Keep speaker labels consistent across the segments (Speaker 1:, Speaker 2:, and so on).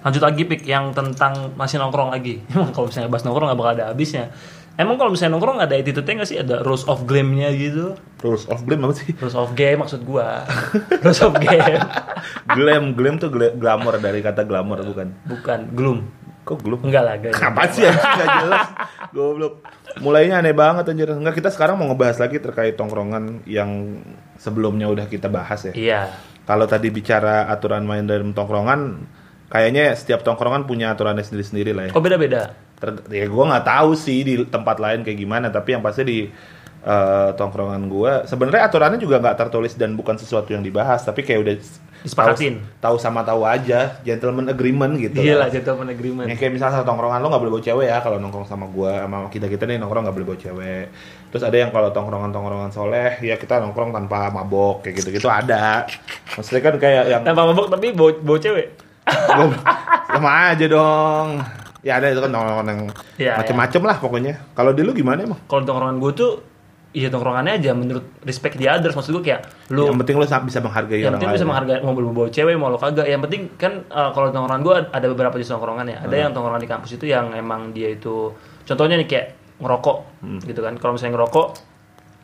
Speaker 1: Lanjut lagi pik yang tentang masih nongkrong lagi. Emang kalau misalnya bahas nongkrong gak bakal ada habisnya. Emang kalau misalnya nongkrong ada attitude-nya gak sih? Ada rules of game-nya gitu?
Speaker 2: Rules of glam apa sih?
Speaker 1: Rules of game maksud gua. rules of game.
Speaker 2: Glam, glam tuh gla- glamour dari kata glamour bukan?
Speaker 1: Bukan, gloom.
Speaker 2: Kok gloom?
Speaker 1: Enggak lah, guys.
Speaker 2: Kenapa sih ya? Gak jelas. Goblok. Mulainya aneh banget anjir. Enggak, kita sekarang mau ngebahas lagi terkait tongkrongan yang sebelumnya udah kita bahas ya.
Speaker 1: Iya.
Speaker 2: Kalau tadi bicara aturan main dalam tongkrongan, kayaknya setiap tongkrongan punya aturannya sendiri-sendiri lah ya.
Speaker 1: Oh beda-beda.
Speaker 2: Ter- ya gue nggak tahu sih di tempat lain kayak gimana, tapi yang pasti di eh, tongkrongan gue sebenarnya aturannya juga nggak tertulis dan bukan sesuatu yang dibahas, tapi kayak udah s-
Speaker 1: Disepakatin.
Speaker 2: tahu tahu sama tahu aja, gentleman agreement gitu.
Speaker 1: Iya lah,
Speaker 2: lah.
Speaker 1: gentleman agreement.
Speaker 2: Ya, kayak misalnya satu tongkrongan lo nggak boleh bawa cewek ya kalau nongkrong sama gua sama kita kita nih nongkrong nggak boleh bawa cewek terus ada yang kalau tongkrongan tongkrongan soleh ya kita nongkrong tanpa mabok kayak gitu gitu ada maksudnya kan kayak yang
Speaker 1: Tanpa mabok tapi bawa, bawa cewek.
Speaker 2: Goblok. sama aja dong ya ada itu kan tongkrongan yang
Speaker 1: Ya,
Speaker 2: macem-macem lah pokoknya kalau di lu gimana emang
Speaker 1: Kalau tongkrongan gue tuh, iya tongkrongannya aja menurut respect the others. Maksud gue kayak lu
Speaker 2: yang penting lo sa- bisa menghargai
Speaker 1: yang
Speaker 2: orang
Speaker 1: penting bisa
Speaker 2: lain
Speaker 1: menghargai mau bawa cewek mau lo kagak yang penting kan eh, kalau tongkrongan gue ada beberapa jenis tongkrongan ya
Speaker 2: Hmm.
Speaker 1: ada yang tongkrongan di kampus itu yang emang dia itu contohnya nih kayak ngerokok
Speaker 2: Hmm.
Speaker 1: gitu kan kalau misalnya ngerokok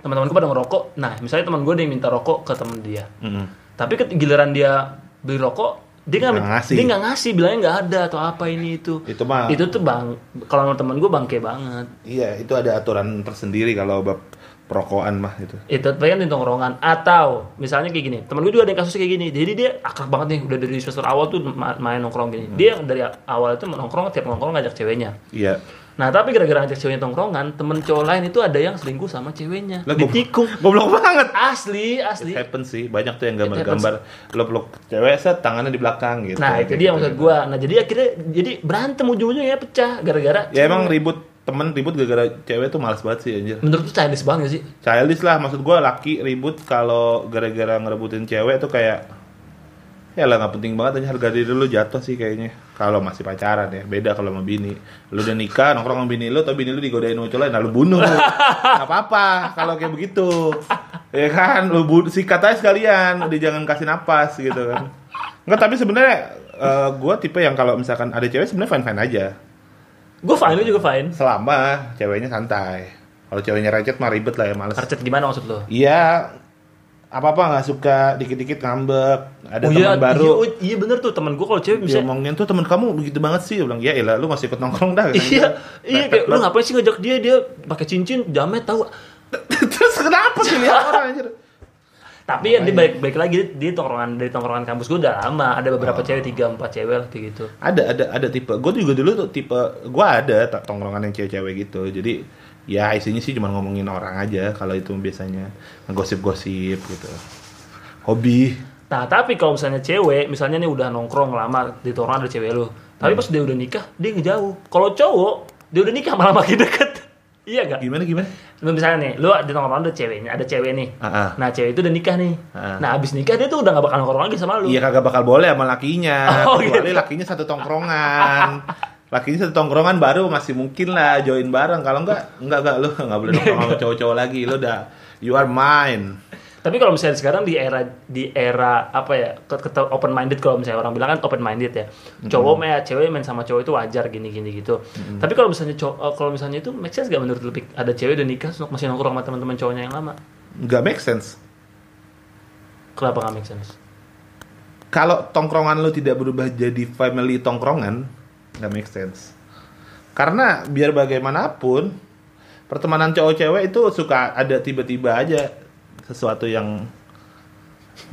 Speaker 1: teman-teman gue pada ngerokok nah misalnya teman gue ada yang minta rokok ke temen dia
Speaker 2: Mm-mm.
Speaker 1: tapi ke giliran dia beli rokok dia nggak
Speaker 2: Nggak ngasih.
Speaker 1: dia nggak ngasih bilangnya nggak ada atau apa ini itu
Speaker 2: Itu mah-
Speaker 1: itu tuh bang kalau menurut teman gue bangke banget
Speaker 2: iya itu ada aturan tersendiri kalau bab perokokan mah gitu. itu
Speaker 1: itu pengen di tongkrongan atau misalnya kayak gini temen gue juga ada yang kasusnya kayak gini jadi dia akrab banget nih udah dari semester awal tuh ma- main nongkrong gini
Speaker 2: Hmm.
Speaker 1: dia dari awal itu nongkrong tiap nongkrong ngajak ceweknya
Speaker 2: iya
Speaker 1: nah tapi gara-gara ngajak ceweknya tongkrongan temen cowok lain itu ada yang selingkuh sama ceweknya
Speaker 2: Lah, Iya, goblok-
Speaker 1: ditikung
Speaker 2: goblok banget
Speaker 1: asli asli
Speaker 2: It happens sih banyak tuh yang gambar-gambar lo peluk cewek set tangannya di belakang gitu
Speaker 1: nah itu
Speaker 2: Kayak
Speaker 1: dia
Speaker 2: gitu,
Speaker 1: maksud
Speaker 2: gitu.
Speaker 1: gue nah jadi akhirnya jadi berantem ujung-ujungnya ya pecah gara-gara
Speaker 2: ya emang ribut temen ribut gara-gara cewek tuh males banget sih anjir
Speaker 1: menurut lu childish banget gak sih
Speaker 2: childish lah maksud gua laki ribut kalau gara-gara ngerebutin cewek tuh kayak ya lah nggak penting banget aja harga diri lu jatuh sih kayaknya kalau masih pacaran ya beda kalau sama bini lu udah nikah nongkrong sama bini lu tapi bini lu digodain sama cowok lain nah lu bunuh nggak apa-apa kalau kayak begitu ya kan lu bu- sikat aja sekalian udah jangan kasih napas gitu kan Enggak tapi sebenarnya eh, gua tipe yang kalau misalkan ada cewek sebenarnya fine fine aja
Speaker 1: gue fine lu juga fine
Speaker 2: selama ceweknya santai kalau ceweknya recet mah ribet lah ya males
Speaker 1: Arcet gimana maksud lu
Speaker 2: Iya apa apa nggak suka dikit-dikit ngambek ada
Speaker 1: Oh iya,
Speaker 2: teman baru Iya,
Speaker 1: iya, iya bener tuh temen gue kalau cewek
Speaker 2: dia
Speaker 1: bisa
Speaker 2: ngomongin tuh teman kamu begitu banget sih Dia bilang ya elah lu masih ikut nongkrong dah gitu.
Speaker 1: iya iya
Speaker 2: Mepet
Speaker 1: kayak lu
Speaker 2: banget.
Speaker 1: ngapain sih ngajak dia dia pakai cincin jamet tahu
Speaker 2: terus kenapa sih lihat orang anjir
Speaker 1: tapi ya dia balik balik lagi dia tongkrongan dari tongkrongan kampus gue udah lama ada beberapa
Speaker 2: Oh.
Speaker 1: cewek tiga empat cewek lah kayak gitu
Speaker 2: ada ada ada tipe gue juga dulu tuh tipe gue ada ta- tongkrongan yang cewek-cewek gitu jadi ya isinya sih cuma ngomongin orang aja kalau itu biasanya gosip-gosip gitu hobi
Speaker 1: nah tapi kalau misalnya cewek misalnya nih udah nongkrong lama di tongkrongan ada cewek lu tapi
Speaker 2: Hmm.
Speaker 1: pas dia udah nikah dia ngejauh kalau cowok dia udah nikah malah makin deket iya gak
Speaker 2: gimana gimana
Speaker 1: lu misalnya nih lu di tongkrongan ada ceweknya ada cewek nih
Speaker 2: Ah, ah.
Speaker 1: nah cewek itu udah nikah nih
Speaker 2: Ah, ah.
Speaker 1: nah abis nikah dia tuh udah gak bakal nongkrong lagi sama lu
Speaker 2: Iya kagak bakal boleh sama lakinya.
Speaker 1: Oh,
Speaker 2: kecuali
Speaker 1: gitu.
Speaker 2: lakinya satu tongkrongan. lakinya satu tongkrongan baru masih mungkin lah join bareng. Kalau enggak, enggak enggak lu enggak boleh nongkrong sama cowok-cowok lagi. Lu udah you are mine.
Speaker 1: Tapi kalau misalnya sekarang di era di era apa ya open minded kalau misalnya orang bilang kan open minded ya
Speaker 2: Mm-hmm.
Speaker 1: cowok main cewek main sama cowok itu wajar gini gini gitu. Tapi kalau misalnya cowok eh, kalau misalnya itu make sense gak menurut lu Pik? ada cewek udah nikah terus masih nongkrong sama teman-teman cowoknya yang lama
Speaker 2: Enggak make sense.
Speaker 1: kenapa gak make sense?
Speaker 2: Kalau tongkrongan lu tidak berubah jadi family tongkrongan, enggak make sense. Karena biar bagaimanapun pertemanan cowok-cewek itu suka ada tiba-tiba aja sesuatu yang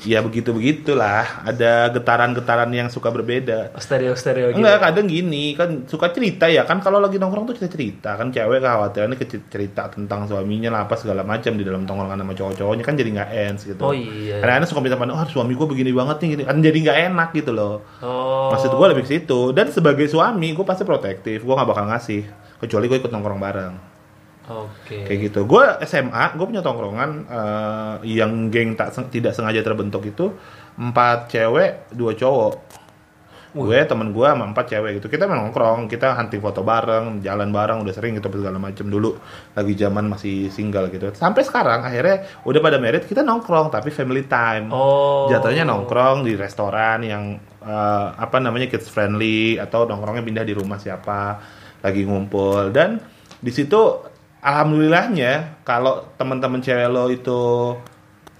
Speaker 2: ya begitu-begitulah, ada getaran-getaran yang suka berbeda.
Speaker 1: Stereo stereo gitu.
Speaker 2: Enggak, kadang gini kan suka cerita ya kan kalau lagi nongkrong tuh cerita cerita kan cewek kekhawatirannya ke cerita tentang suaminya lah apa segala macam di dalam tongkrongan sama cowok-cowoknya kan jadi nggak ends gitu.
Speaker 1: Oh iya.
Speaker 2: Kadang-kadang suka minta pandangan, oh suami gue begini banget nih, gini. kan jadi nggak enak gitu loh.
Speaker 1: Oh.
Speaker 2: Maksud gue lebih ke situ. Dan sebagai suami gue pasti protektif, gue nggak bakal ngasih kecuali gue ikut nongkrong bareng
Speaker 1: Oke.
Speaker 2: kayak gitu. Gue SMA, gue punya tongkrongan eh, yang geng tak seng- tidak sengaja terbentuk itu empat cewek, dua cowok. gue temen gue sama empat cewek gitu kita memang nongkrong kita hunting foto bareng jalan bareng udah sering gitu segala macem dulu lagi zaman masih single gitu sampai sekarang akhirnya udah pada married kita nongkrong tapi family time
Speaker 1: Oh.
Speaker 2: jatuhnya nongkrong di restoran yang eh, apa namanya kids friendly atau nongkrongnya pindah di rumah siapa lagi ngumpul dan di situ alhamdulillahnya kalau teman-teman cewek lo itu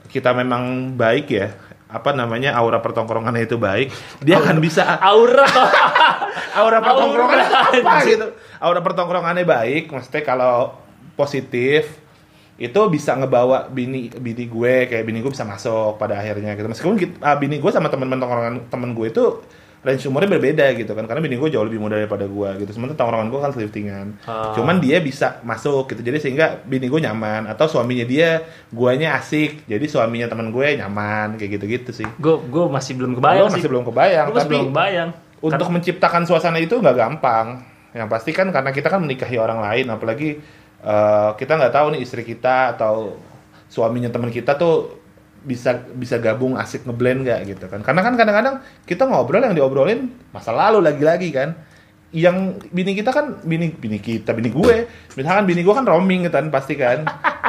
Speaker 2: kita memang baik ya apa namanya aura pertongkrongannya itu baik dia akan bisa
Speaker 1: Aura.
Speaker 2: aura pertongkrongan
Speaker 1: Aura,
Speaker 2: apa
Speaker 1: anjing.
Speaker 2: gitu aura pertongkrongannya baik maksudnya kalau positif itu bisa ngebawa bini bini gue kayak bini gue bisa masuk pada akhirnya gitu meskipun kita, ah, bini gue sama teman-teman tongkrongan temen gue itu range umurnya berbeda gitu kan karena bini gue jauh lebih muda daripada gue gitu sementara tongkrongan gue kan seliftingan
Speaker 1: Ah.
Speaker 2: cuman dia bisa masuk gitu jadi sehingga bini gue nyaman atau suaminya dia guanya asik jadi suaminya teman gue nyaman kayak gitu-gitu sih
Speaker 1: gue gue masih belum
Speaker 2: Gue
Speaker 1: kebayang sih.
Speaker 2: masih belum kebayang
Speaker 1: Gua masih
Speaker 2: tapi
Speaker 1: belum kebayang.
Speaker 2: untuk menciptakan suasana itu nggak gampang. Yang pasti kan karena kita kan menikahi orang lain, apalagi eh, kita nggak tahu nih istri kita atau suaminya teman kita tuh bisa bisa gabung asik ngeblend nggak gitu kan? Karena kan kadang-kadang kita ngobrol yang diobrolin masa lalu lagi-lagi kan. Yang bini kita kan bini bini kita bini gue, misalkan bini gue kan roaming gitu kan pasti kan.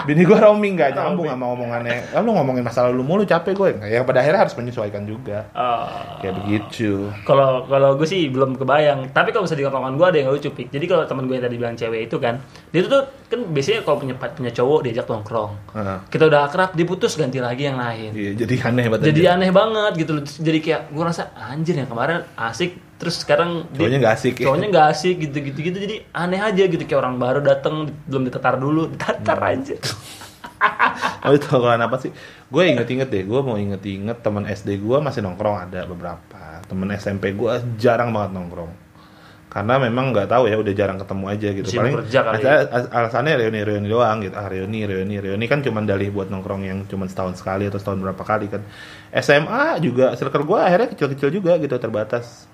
Speaker 2: Bini gue roaming nggak nyambung sama omongannya. "Ah, Lu ngomongin masa lalu mulu capek gue. Nah, Yang pada akhirnya harus menyesuaikan juga.
Speaker 1: Eh,
Speaker 2: Kayak begitu.
Speaker 1: Kalau kalau gue sih belum kebayang. Tapi kalau misalnya di tongkrongan gue ada yang lucu pik. Jadi kalau teman gue yang tadi bilang cewek itu kan, dia tuh kan biasanya kalau punya punya cowok diajak nongkrong.
Speaker 2: Heeh.
Speaker 1: Kita udah akrab, diputus ganti lagi yang lain.
Speaker 2: Iya, jadi aneh banget.
Speaker 1: Jadi
Speaker 2: aja.
Speaker 1: aneh banget gitu loh. Terus Jadi kayak gue rasa anjir yang kemarin asik, terus sekarang dia-
Speaker 2: cowoknya nggak asik. ya?
Speaker 1: cowoknya nggak asik gitu-gitu gitu. Jadi aneh aja gitu kayak orang baru datang belum ditetar dulu, ditetar
Speaker 2: Hmm.
Speaker 1: aja.
Speaker 2: Oh itu tongkrongan apa sih? Gue inget-inget deh, gue mau inget-inget teman SD gue masih nongkrong ada beberapa. Temen SMP gue jarang banget nongkrong. Karena memang nggak tahu ya, udah jarang ketemu aja gitu.
Speaker 1: Sibuk kerja kali ya?
Speaker 2: alas- alas- alasannya reuni-reuni doang gitu. Ah reuni, reuni, reuni kan cuma dalih buat nongkrong yang cuma setahun sekali atau setahun berapa kali kan. SMA juga circle gue akhirnya kecil-kecil juga gitu, terbatas.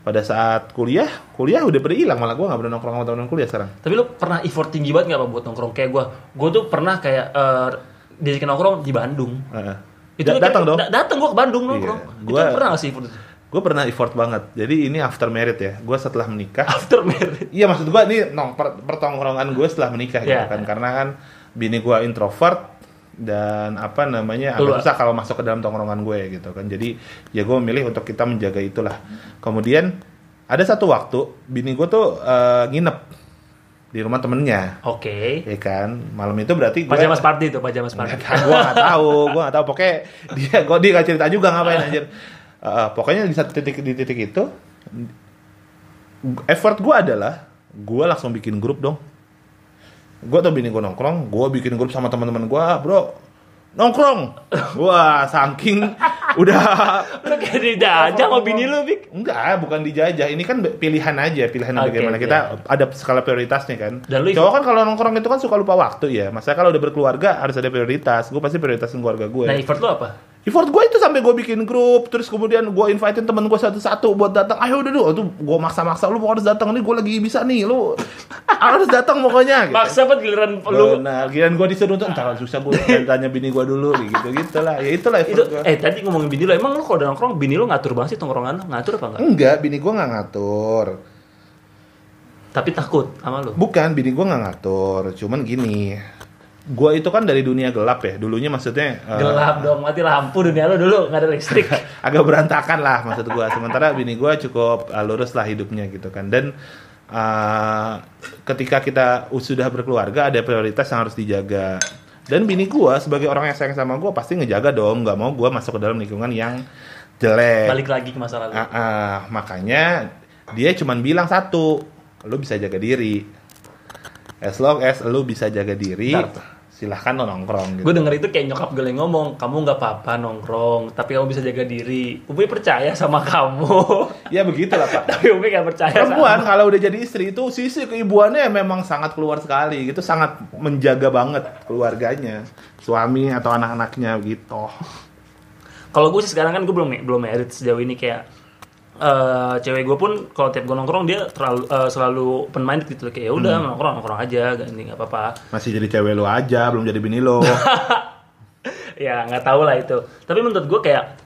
Speaker 2: Pada saat kuliah, kuliah udah pada hilang malah gue nggak pernah nongkrong sama teman-teman kuliah sekarang.
Speaker 1: Tapi lu pernah effort tinggi banget nggak Pak, buat nongkrong kayak gue? Gue tuh pernah kayak eh, diajakin nongkrong di Bandung.
Speaker 2: Heeh.
Speaker 1: Itu
Speaker 2: Da- datang dong.
Speaker 1: datang gue ke Bandung nongkrong.
Speaker 2: Iya.
Speaker 1: Itu
Speaker 2: Gua-
Speaker 1: pernah nggak sih effort itu?
Speaker 2: Gue pernah effort banget. Jadi ini after married ya. Gue setelah menikah.
Speaker 1: After married.
Speaker 2: Iya maksud gue ini nong per- pertongkrongan gue setelah menikah gitu
Speaker 1: Iya.
Speaker 2: kan. Karena kan bini gue introvert dan apa namanya
Speaker 1: Keluar.
Speaker 2: agak susah kalau masuk ke dalam tongkrongan gue gitu kan. Jadi ya gue memilih untuk kita menjaga itulah. Kemudian ada satu waktu bini gue tuh eh, nginep di rumah temennya,
Speaker 1: Oke.
Speaker 2: ya kan. Malam itu berarti gue
Speaker 1: Pajamas party itu, pajamas party.
Speaker 2: Gak, gue gak Nah, tahu, gue gak tahu. Pokoknya dia, gue dia gak cerita juga ngapain anjir. Eh, pokoknya di satu titik di titik itu, effort gue adalah gue langsung bikin grup dong. Gue tuh bini gue nongkrong, gue bikin grup sama teman-teman gue, bro nongkrong. Wah, saking udah
Speaker 1: Lu kayak dijajah sama bini lu, Bik.
Speaker 2: Enggak, bukan dijajah. Ini kan be- pilihan aja, pilihan
Speaker 1: Oke,
Speaker 2: bagaimana
Speaker 1: oke.
Speaker 2: kita ada skala prioritasnya kan.
Speaker 1: Dan lu-
Speaker 2: cowok kan kalau nongkrong itu kan suka lupa waktu ya. Masa kalau udah berkeluarga harus ada prioritas. Gue pasti prioritasin keluarga gue.
Speaker 1: Nah, effort lu apa?
Speaker 2: Effort gue itu sampai gue bikin grup, terus kemudian gue invitein temen gue satu-satu buat datang. Ayo udah dulu, tuh gue maksa-maksa lu harus datang nih, gue lagi bisa nih, lu harus datang pokoknya. Gitu.
Speaker 1: Maksa banget giliran lu
Speaker 2: Lu, nah, giliran gue disuruh tuh, entar susah gue tanya bini gue dulu, gitu-gitu lah. Ya itulah
Speaker 1: itu
Speaker 2: effort gue.
Speaker 1: eh tadi ngomongin bini lu emang lu kalau udah nongkrong bini lu ngatur banget sih tongkrongan lu ngatur apa enggak?
Speaker 2: Enggak, bini gue nggak ngatur.
Speaker 1: Tapi takut sama lu.
Speaker 2: Bukan, bini gue nggak ngatur. Cuman gini, gue itu kan dari dunia gelap ya. Dulunya maksudnya eh,
Speaker 1: Gelap dong, mati lampu dunia lu dulu, nggak ada listrik.
Speaker 2: agak berantakan lah maksud gue. Sementara bini gue cukup eh, lurus lah hidupnya gitu kan. Dan eh, ketika kita sudah berkeluarga ada prioritas yang harus dijaga. Dan bini gue sebagai orang yang sayang sama gue pasti ngejaga dong. Nggak mau gue masuk ke dalam lingkungan yang jelek.
Speaker 1: Balik lagi ke masa lalu.
Speaker 2: Ah, ah, makanya dia cuman bilang satu, lu bisa jaga diri. As long as lu bisa jaga diri,
Speaker 1: Bentar.
Speaker 2: silahkan lo nongkrong gitu.
Speaker 1: Gue denger itu kayak nyokap gue yang ngomong, kamu nggak apa-apa nongkrong, tapi kamu bisa jaga diri. Umi percaya sama kamu,
Speaker 2: Ya begitulah pak.
Speaker 1: tapi Umi nggak percaya sama.
Speaker 2: Perempuan kalau udah jadi istri itu sisi keibuannya memang sangat keluar sekali gitu, sangat menjaga banget keluarganya, suami atau anak-anaknya gitu.
Speaker 1: Kalau gue sih sekarang kan gue belum belum married sejauh ini kayak eh cewek gue pun kalau tiap gue nongkrong dia terlalu eh, selalu open minded gitu loh. kayak "Ya
Speaker 2: Hmm.
Speaker 1: udah nongkrong nongkrong aja gak ini nggak apa-apa
Speaker 2: Masih jadi cewek lo aja, belum jadi bini lo.
Speaker 1: ya nggak tahu lah itu tapi menurut gue kayak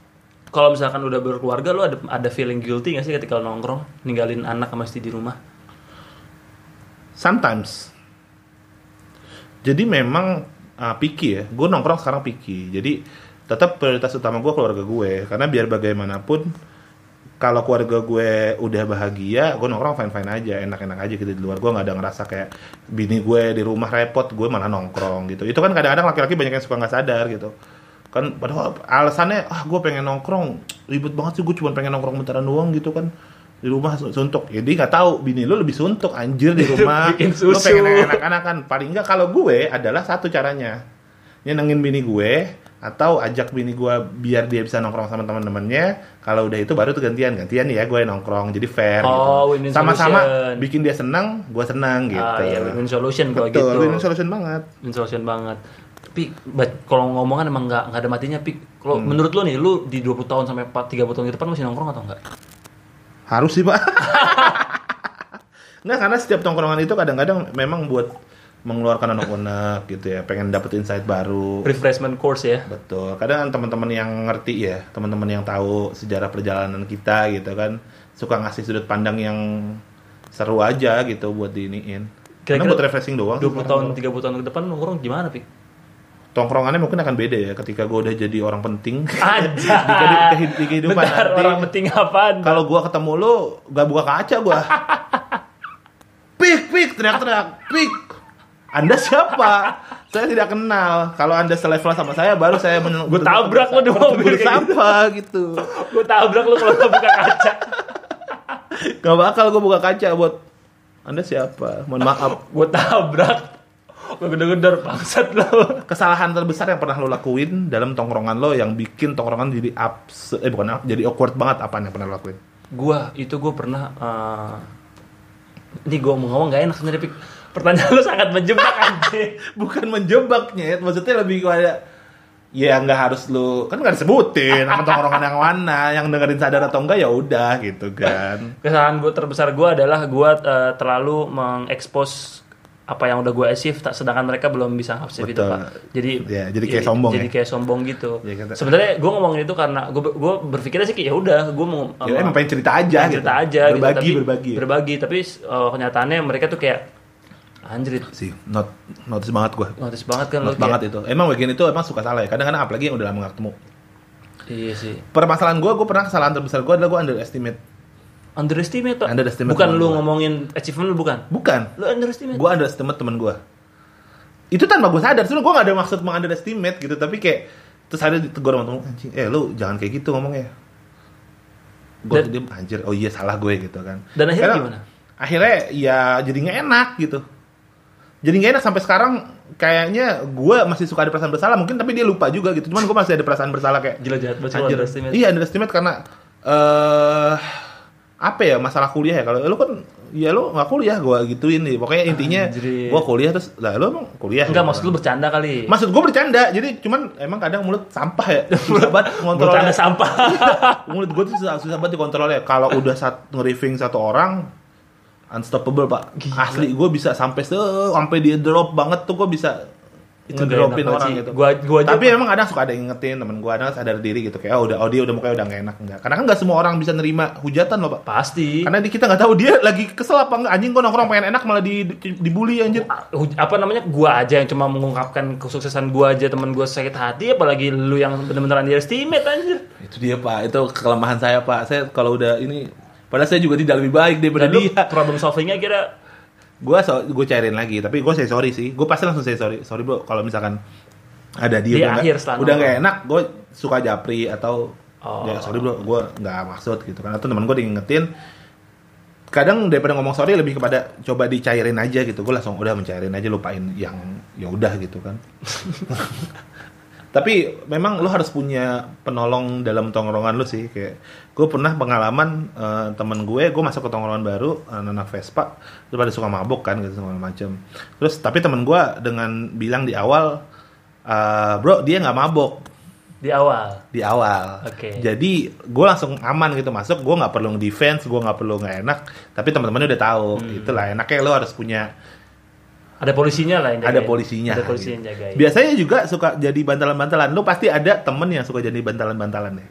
Speaker 1: kalau misalkan udah berkeluarga lu ada ada feeling guilty nggak sih ketika lu nongkrong ninggalin anak sama istri di rumah?
Speaker 2: Sometimes. Jadi memang uh, picky ya. Gue nongkrong sekarang picky. Jadi tetap prioritas utama gue keluarga gue. Karena biar bagaimanapun kalau keluarga gue udah bahagia, gue nongkrong fine fine aja, enak enak aja gitu di luar. Gue nggak ada ngerasa kayak bini gue di rumah repot, gue malah nongkrong gitu. Itu kan kadang-kadang laki-laki banyak yang suka nggak sadar gitu. Kan padahal alasannya ah gue pengen nongkrong, ribet banget sih gue cuma pengen nongkrong bentaran doang gitu kan di rumah su- suntuk jadi nggak tahu bini lu lebih suntuk anjir di rumah
Speaker 1: Bikin
Speaker 2: lu
Speaker 1: susu.
Speaker 2: pengen enak-enakan paling nggak kalau gue adalah satu caranya nyenengin bini gue atau ajak bini gue biar dia bisa nongkrong sama teman-temannya kalau udah itu baru tuh gantian gantian ya gue nongkrong jadi fair
Speaker 1: Oh,
Speaker 2: gitu.
Speaker 1: win-win
Speaker 2: sama-sama
Speaker 1: solution.
Speaker 2: bikin dia senang gue senang gitu
Speaker 1: Ah, ya win-win solution kalau gitu.
Speaker 2: betul win-win solution banget
Speaker 1: Insulation banget. Tapi but, kalau ngomongan emang nggak nggak ada matinya. Pik, kalau
Speaker 2: Hmm.
Speaker 1: menurut lu nih, lu di 20 tahun sampai 4, 30 tahun ke depan masih nongkrong atau enggak?
Speaker 2: harus sih pak nggak karena setiap tongkrongan itu kadang-kadang memang buat mengeluarkan anak-anak gitu ya pengen dapet insight baru
Speaker 1: Refreshment course ya.
Speaker 2: Betul. Kadang kan teman-teman yang ngerti ya, teman-teman yang tahu sejarah perjalanan kita gitu kan, suka ngasih sudut pandang yang seru aja gitu buat diiniin. Karena
Speaker 1: Kira-kira
Speaker 2: buat refreshing doang. sih
Speaker 1: 20
Speaker 2: sebenarnya.
Speaker 1: tahun, 30 tahun ke depan nongkrong gimana, Pik?
Speaker 2: Tongkrongannya mungkin akan beda ya ketika gue udah jadi orang penting
Speaker 1: Aja.
Speaker 2: di, kehidu- kehidu- di kehidupan
Speaker 1: Bentar,
Speaker 2: nanti.
Speaker 1: orang penting apaan?
Speaker 2: Kalau gue ketemu lu, gak buka kaca gue. pik, pik, teriak-teriak, pik. Anda siapa? Saya tidak kenal. Kalau Anda selevel sama saya, baru saya men-
Speaker 1: Gua tabrak lu di mobil
Speaker 2: bertempur
Speaker 1: kayak
Speaker 2: Oh, sampah gitu.
Speaker 1: Gue tabrak lu kalau nggak buka kaca.
Speaker 2: Gak bakal gue buka kaca buat Anda siapa? Mohon maaf.
Speaker 1: Gue tabrak. Gue gedor-gedor, bangsat lu.
Speaker 2: Kesalahan terbesar yang pernah lo lakuin dalam tongkrongan lo yang bikin tongkrongan jadi abs eh bukan abs- jadi awkward banget apaan yang pernah lo lakuin?
Speaker 1: Gua itu gue pernah eh, ini gue mau ngomong gak enak sebenarnya Pik. pertanyaan lu sangat menjebak anjir
Speaker 2: Bukan menjebaknya, maksudnya lebih kepada ya nggak harus lo kan nggak disebutin sama tongkrongan yang mana yang dengerin sadar atau enggak ya udah gitu kan.
Speaker 1: kesalahan gue terbesar gue adalah gue eh, terlalu mengekspos apa yang udah gue achieve tak sedangkan mereka belum bisa achieve itu
Speaker 2: Betul.
Speaker 1: pak jadi iya,
Speaker 2: Ya, jadi kayak sombong
Speaker 1: jadi
Speaker 2: ya?
Speaker 1: kayak sombong gitu
Speaker 2: Ya, kata-
Speaker 1: sebenarnya gue ngomongin itu karena gue gue berpikirnya sih kayak, ya udah gue mau eh,
Speaker 2: Ya emang pengen cerita aja,
Speaker 1: Pengen cerita
Speaker 2: gitu.
Speaker 1: aja gitu.
Speaker 2: berbagi
Speaker 1: Tapi-
Speaker 2: berbagi.
Speaker 1: berbagi tapi eh, kenyataannya mereka tuh kayak anjir
Speaker 2: Sih, not notice banget gue.
Speaker 1: notice banget kan
Speaker 2: Not
Speaker 1: kayak-
Speaker 2: banget itu. Emang bagian itu emang suka salah ya. Kadang-kadang apalagi yang udah lama gak ketemu.
Speaker 1: iya sih
Speaker 2: permasalahan gue gue pernah kesalahan terbesar gue adalah gue underestimate
Speaker 1: underestimate Pak.
Speaker 2: Underestimate
Speaker 1: bukan
Speaker 2: teman
Speaker 1: lu
Speaker 2: gua.
Speaker 1: ngomongin achievement lu bukan
Speaker 2: bukan
Speaker 1: lu underestimate
Speaker 2: gue underestimate teman gue itu tanpa gue sadar sebenernya gue gak ada maksud meng underestimate gitu tapi kayak terus ada ditegur sama temen anjing eh lu jangan kayak gitu ngomongnya gue
Speaker 1: Dan-
Speaker 2: diem anjir oh iya salah gue gitu kan
Speaker 1: Dan akhirnya
Speaker 2: Karena
Speaker 1: gimana?
Speaker 2: akhirnya ya jadi nggak enak gitu jadi nggak enak sampai sekarang kayaknya gue masih suka ada perasaan bersalah mungkin tapi dia lupa juga gitu cuman gue masih ada perasaan bersalah kayak
Speaker 1: gila jahat banget sih lu
Speaker 2: Anjir.
Speaker 1: underestimate
Speaker 2: Iya underestimate karena eh apa ya masalah kuliah ya kalau eh, lu kan ya lu nggak kuliah gua gituin nih pokoknya intinya
Speaker 1: Anjir.
Speaker 2: gua kuliah terus lah lu emang kuliah
Speaker 1: enggak
Speaker 2: Gitu.
Speaker 1: maksud lu bercanda kali
Speaker 2: maksud gua bercanda jadi cuman emang kadang mulut sampah ya susah banget
Speaker 1: bercanda
Speaker 2: ngontrolnya
Speaker 1: sampah
Speaker 2: mulut gua tuh susah, susah banget dikontrolnya kalau udah sat nge-riffing satu orang unstoppable pak asli gua bisa sampai se sampai dia drop banget tuh gua bisa
Speaker 1: Itu gak
Speaker 2: itu ngedropin
Speaker 1: enak banget
Speaker 2: orang
Speaker 1: sih.
Speaker 2: gitu
Speaker 1: Gua- gua aja-
Speaker 2: tapi emang kadang suka ada yang ngingetin temen gua ada yang sadar diri gitu kayak oh udah oh dia udah mukanya udah gak enak enggak karena kan gak semua orang bisa nerima hujatan loh pak
Speaker 1: pasti
Speaker 2: karena di- kita nggak tahu dia lagi kesel apa enggak anjing gua nongkrong pengen enak malah di, di- dibully anjir
Speaker 1: Ah, hu- apa namanya gua aja yang cuma mengungkapkan kesuksesan gua aja teman gua sakit hati apalagi lu yang bener-bener underestimate anjir
Speaker 2: itu dia pak itu kelemahan saya pak saya kalau udah ini padahal saya juga tidak lebih baik daripada
Speaker 1: dan lu problem solvingnya kira
Speaker 2: gue so, gue cairin lagi tapi gue say sorry sih gue pasti langsung say sorry sorry bro kalau misalkan ada
Speaker 1: Di
Speaker 2: dia
Speaker 1: akhir
Speaker 2: udah nggak-
Speaker 1: setelah
Speaker 2: udah
Speaker 1: nongkrong.
Speaker 2: nggak enak gue suka japri atau
Speaker 1: Oh.
Speaker 2: ya sorry bro gue nggak maksud gitu kan atau teman gue diingetin kadang daripada ngomong sorry lebih kepada coba dicairin aja gitu gue langsung udah mencairin aja lupain yang ya udah gitu kan tapi memang lu harus punya penolong dalam tongkrongan lu sih kayak gue pernah pengalaman eh, temen gue gue masuk ke tongkrongan baru anak Vespa terus pada suka mabuk kan gitu segala macem terus tapi temen gue dengan bilang di awal eh, bro dia nggak mabok
Speaker 1: di awal
Speaker 2: di awal.
Speaker 1: Oke.
Speaker 2: Jadi gue langsung aman gitu masuk, gue nggak perlu
Speaker 1: Hmm.
Speaker 2: defense, gue nggak perlu nggak enak. Tapi teman-temannya udah tahu, itulah enaknya lo harus punya
Speaker 1: ada polisinya lah yang
Speaker 2: ada
Speaker 1: jagain.
Speaker 2: polisinya.
Speaker 1: ada polisi yang
Speaker 2: gitu.
Speaker 1: jagain
Speaker 2: Biasanya juga suka jadi bantalan-bantalan. Lu pasti ada temen yang suka jadi bantalan-bantalan ya.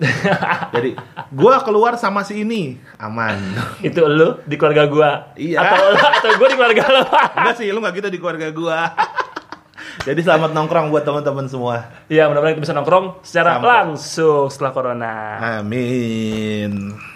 Speaker 2: jadi gua keluar sama si ini aman.
Speaker 1: itu lu di keluarga gua
Speaker 2: Iya.
Speaker 1: atau atau gua di keluarga lu
Speaker 2: Enggak sih, lu nggak gitu di keluarga gua. jadi selamat nongkrong buat teman-teman semua.
Speaker 1: Iya, mudah-mudahan kita bisa nongkrong secara
Speaker 2: Sampai.
Speaker 1: langsung setelah corona.
Speaker 2: Amin.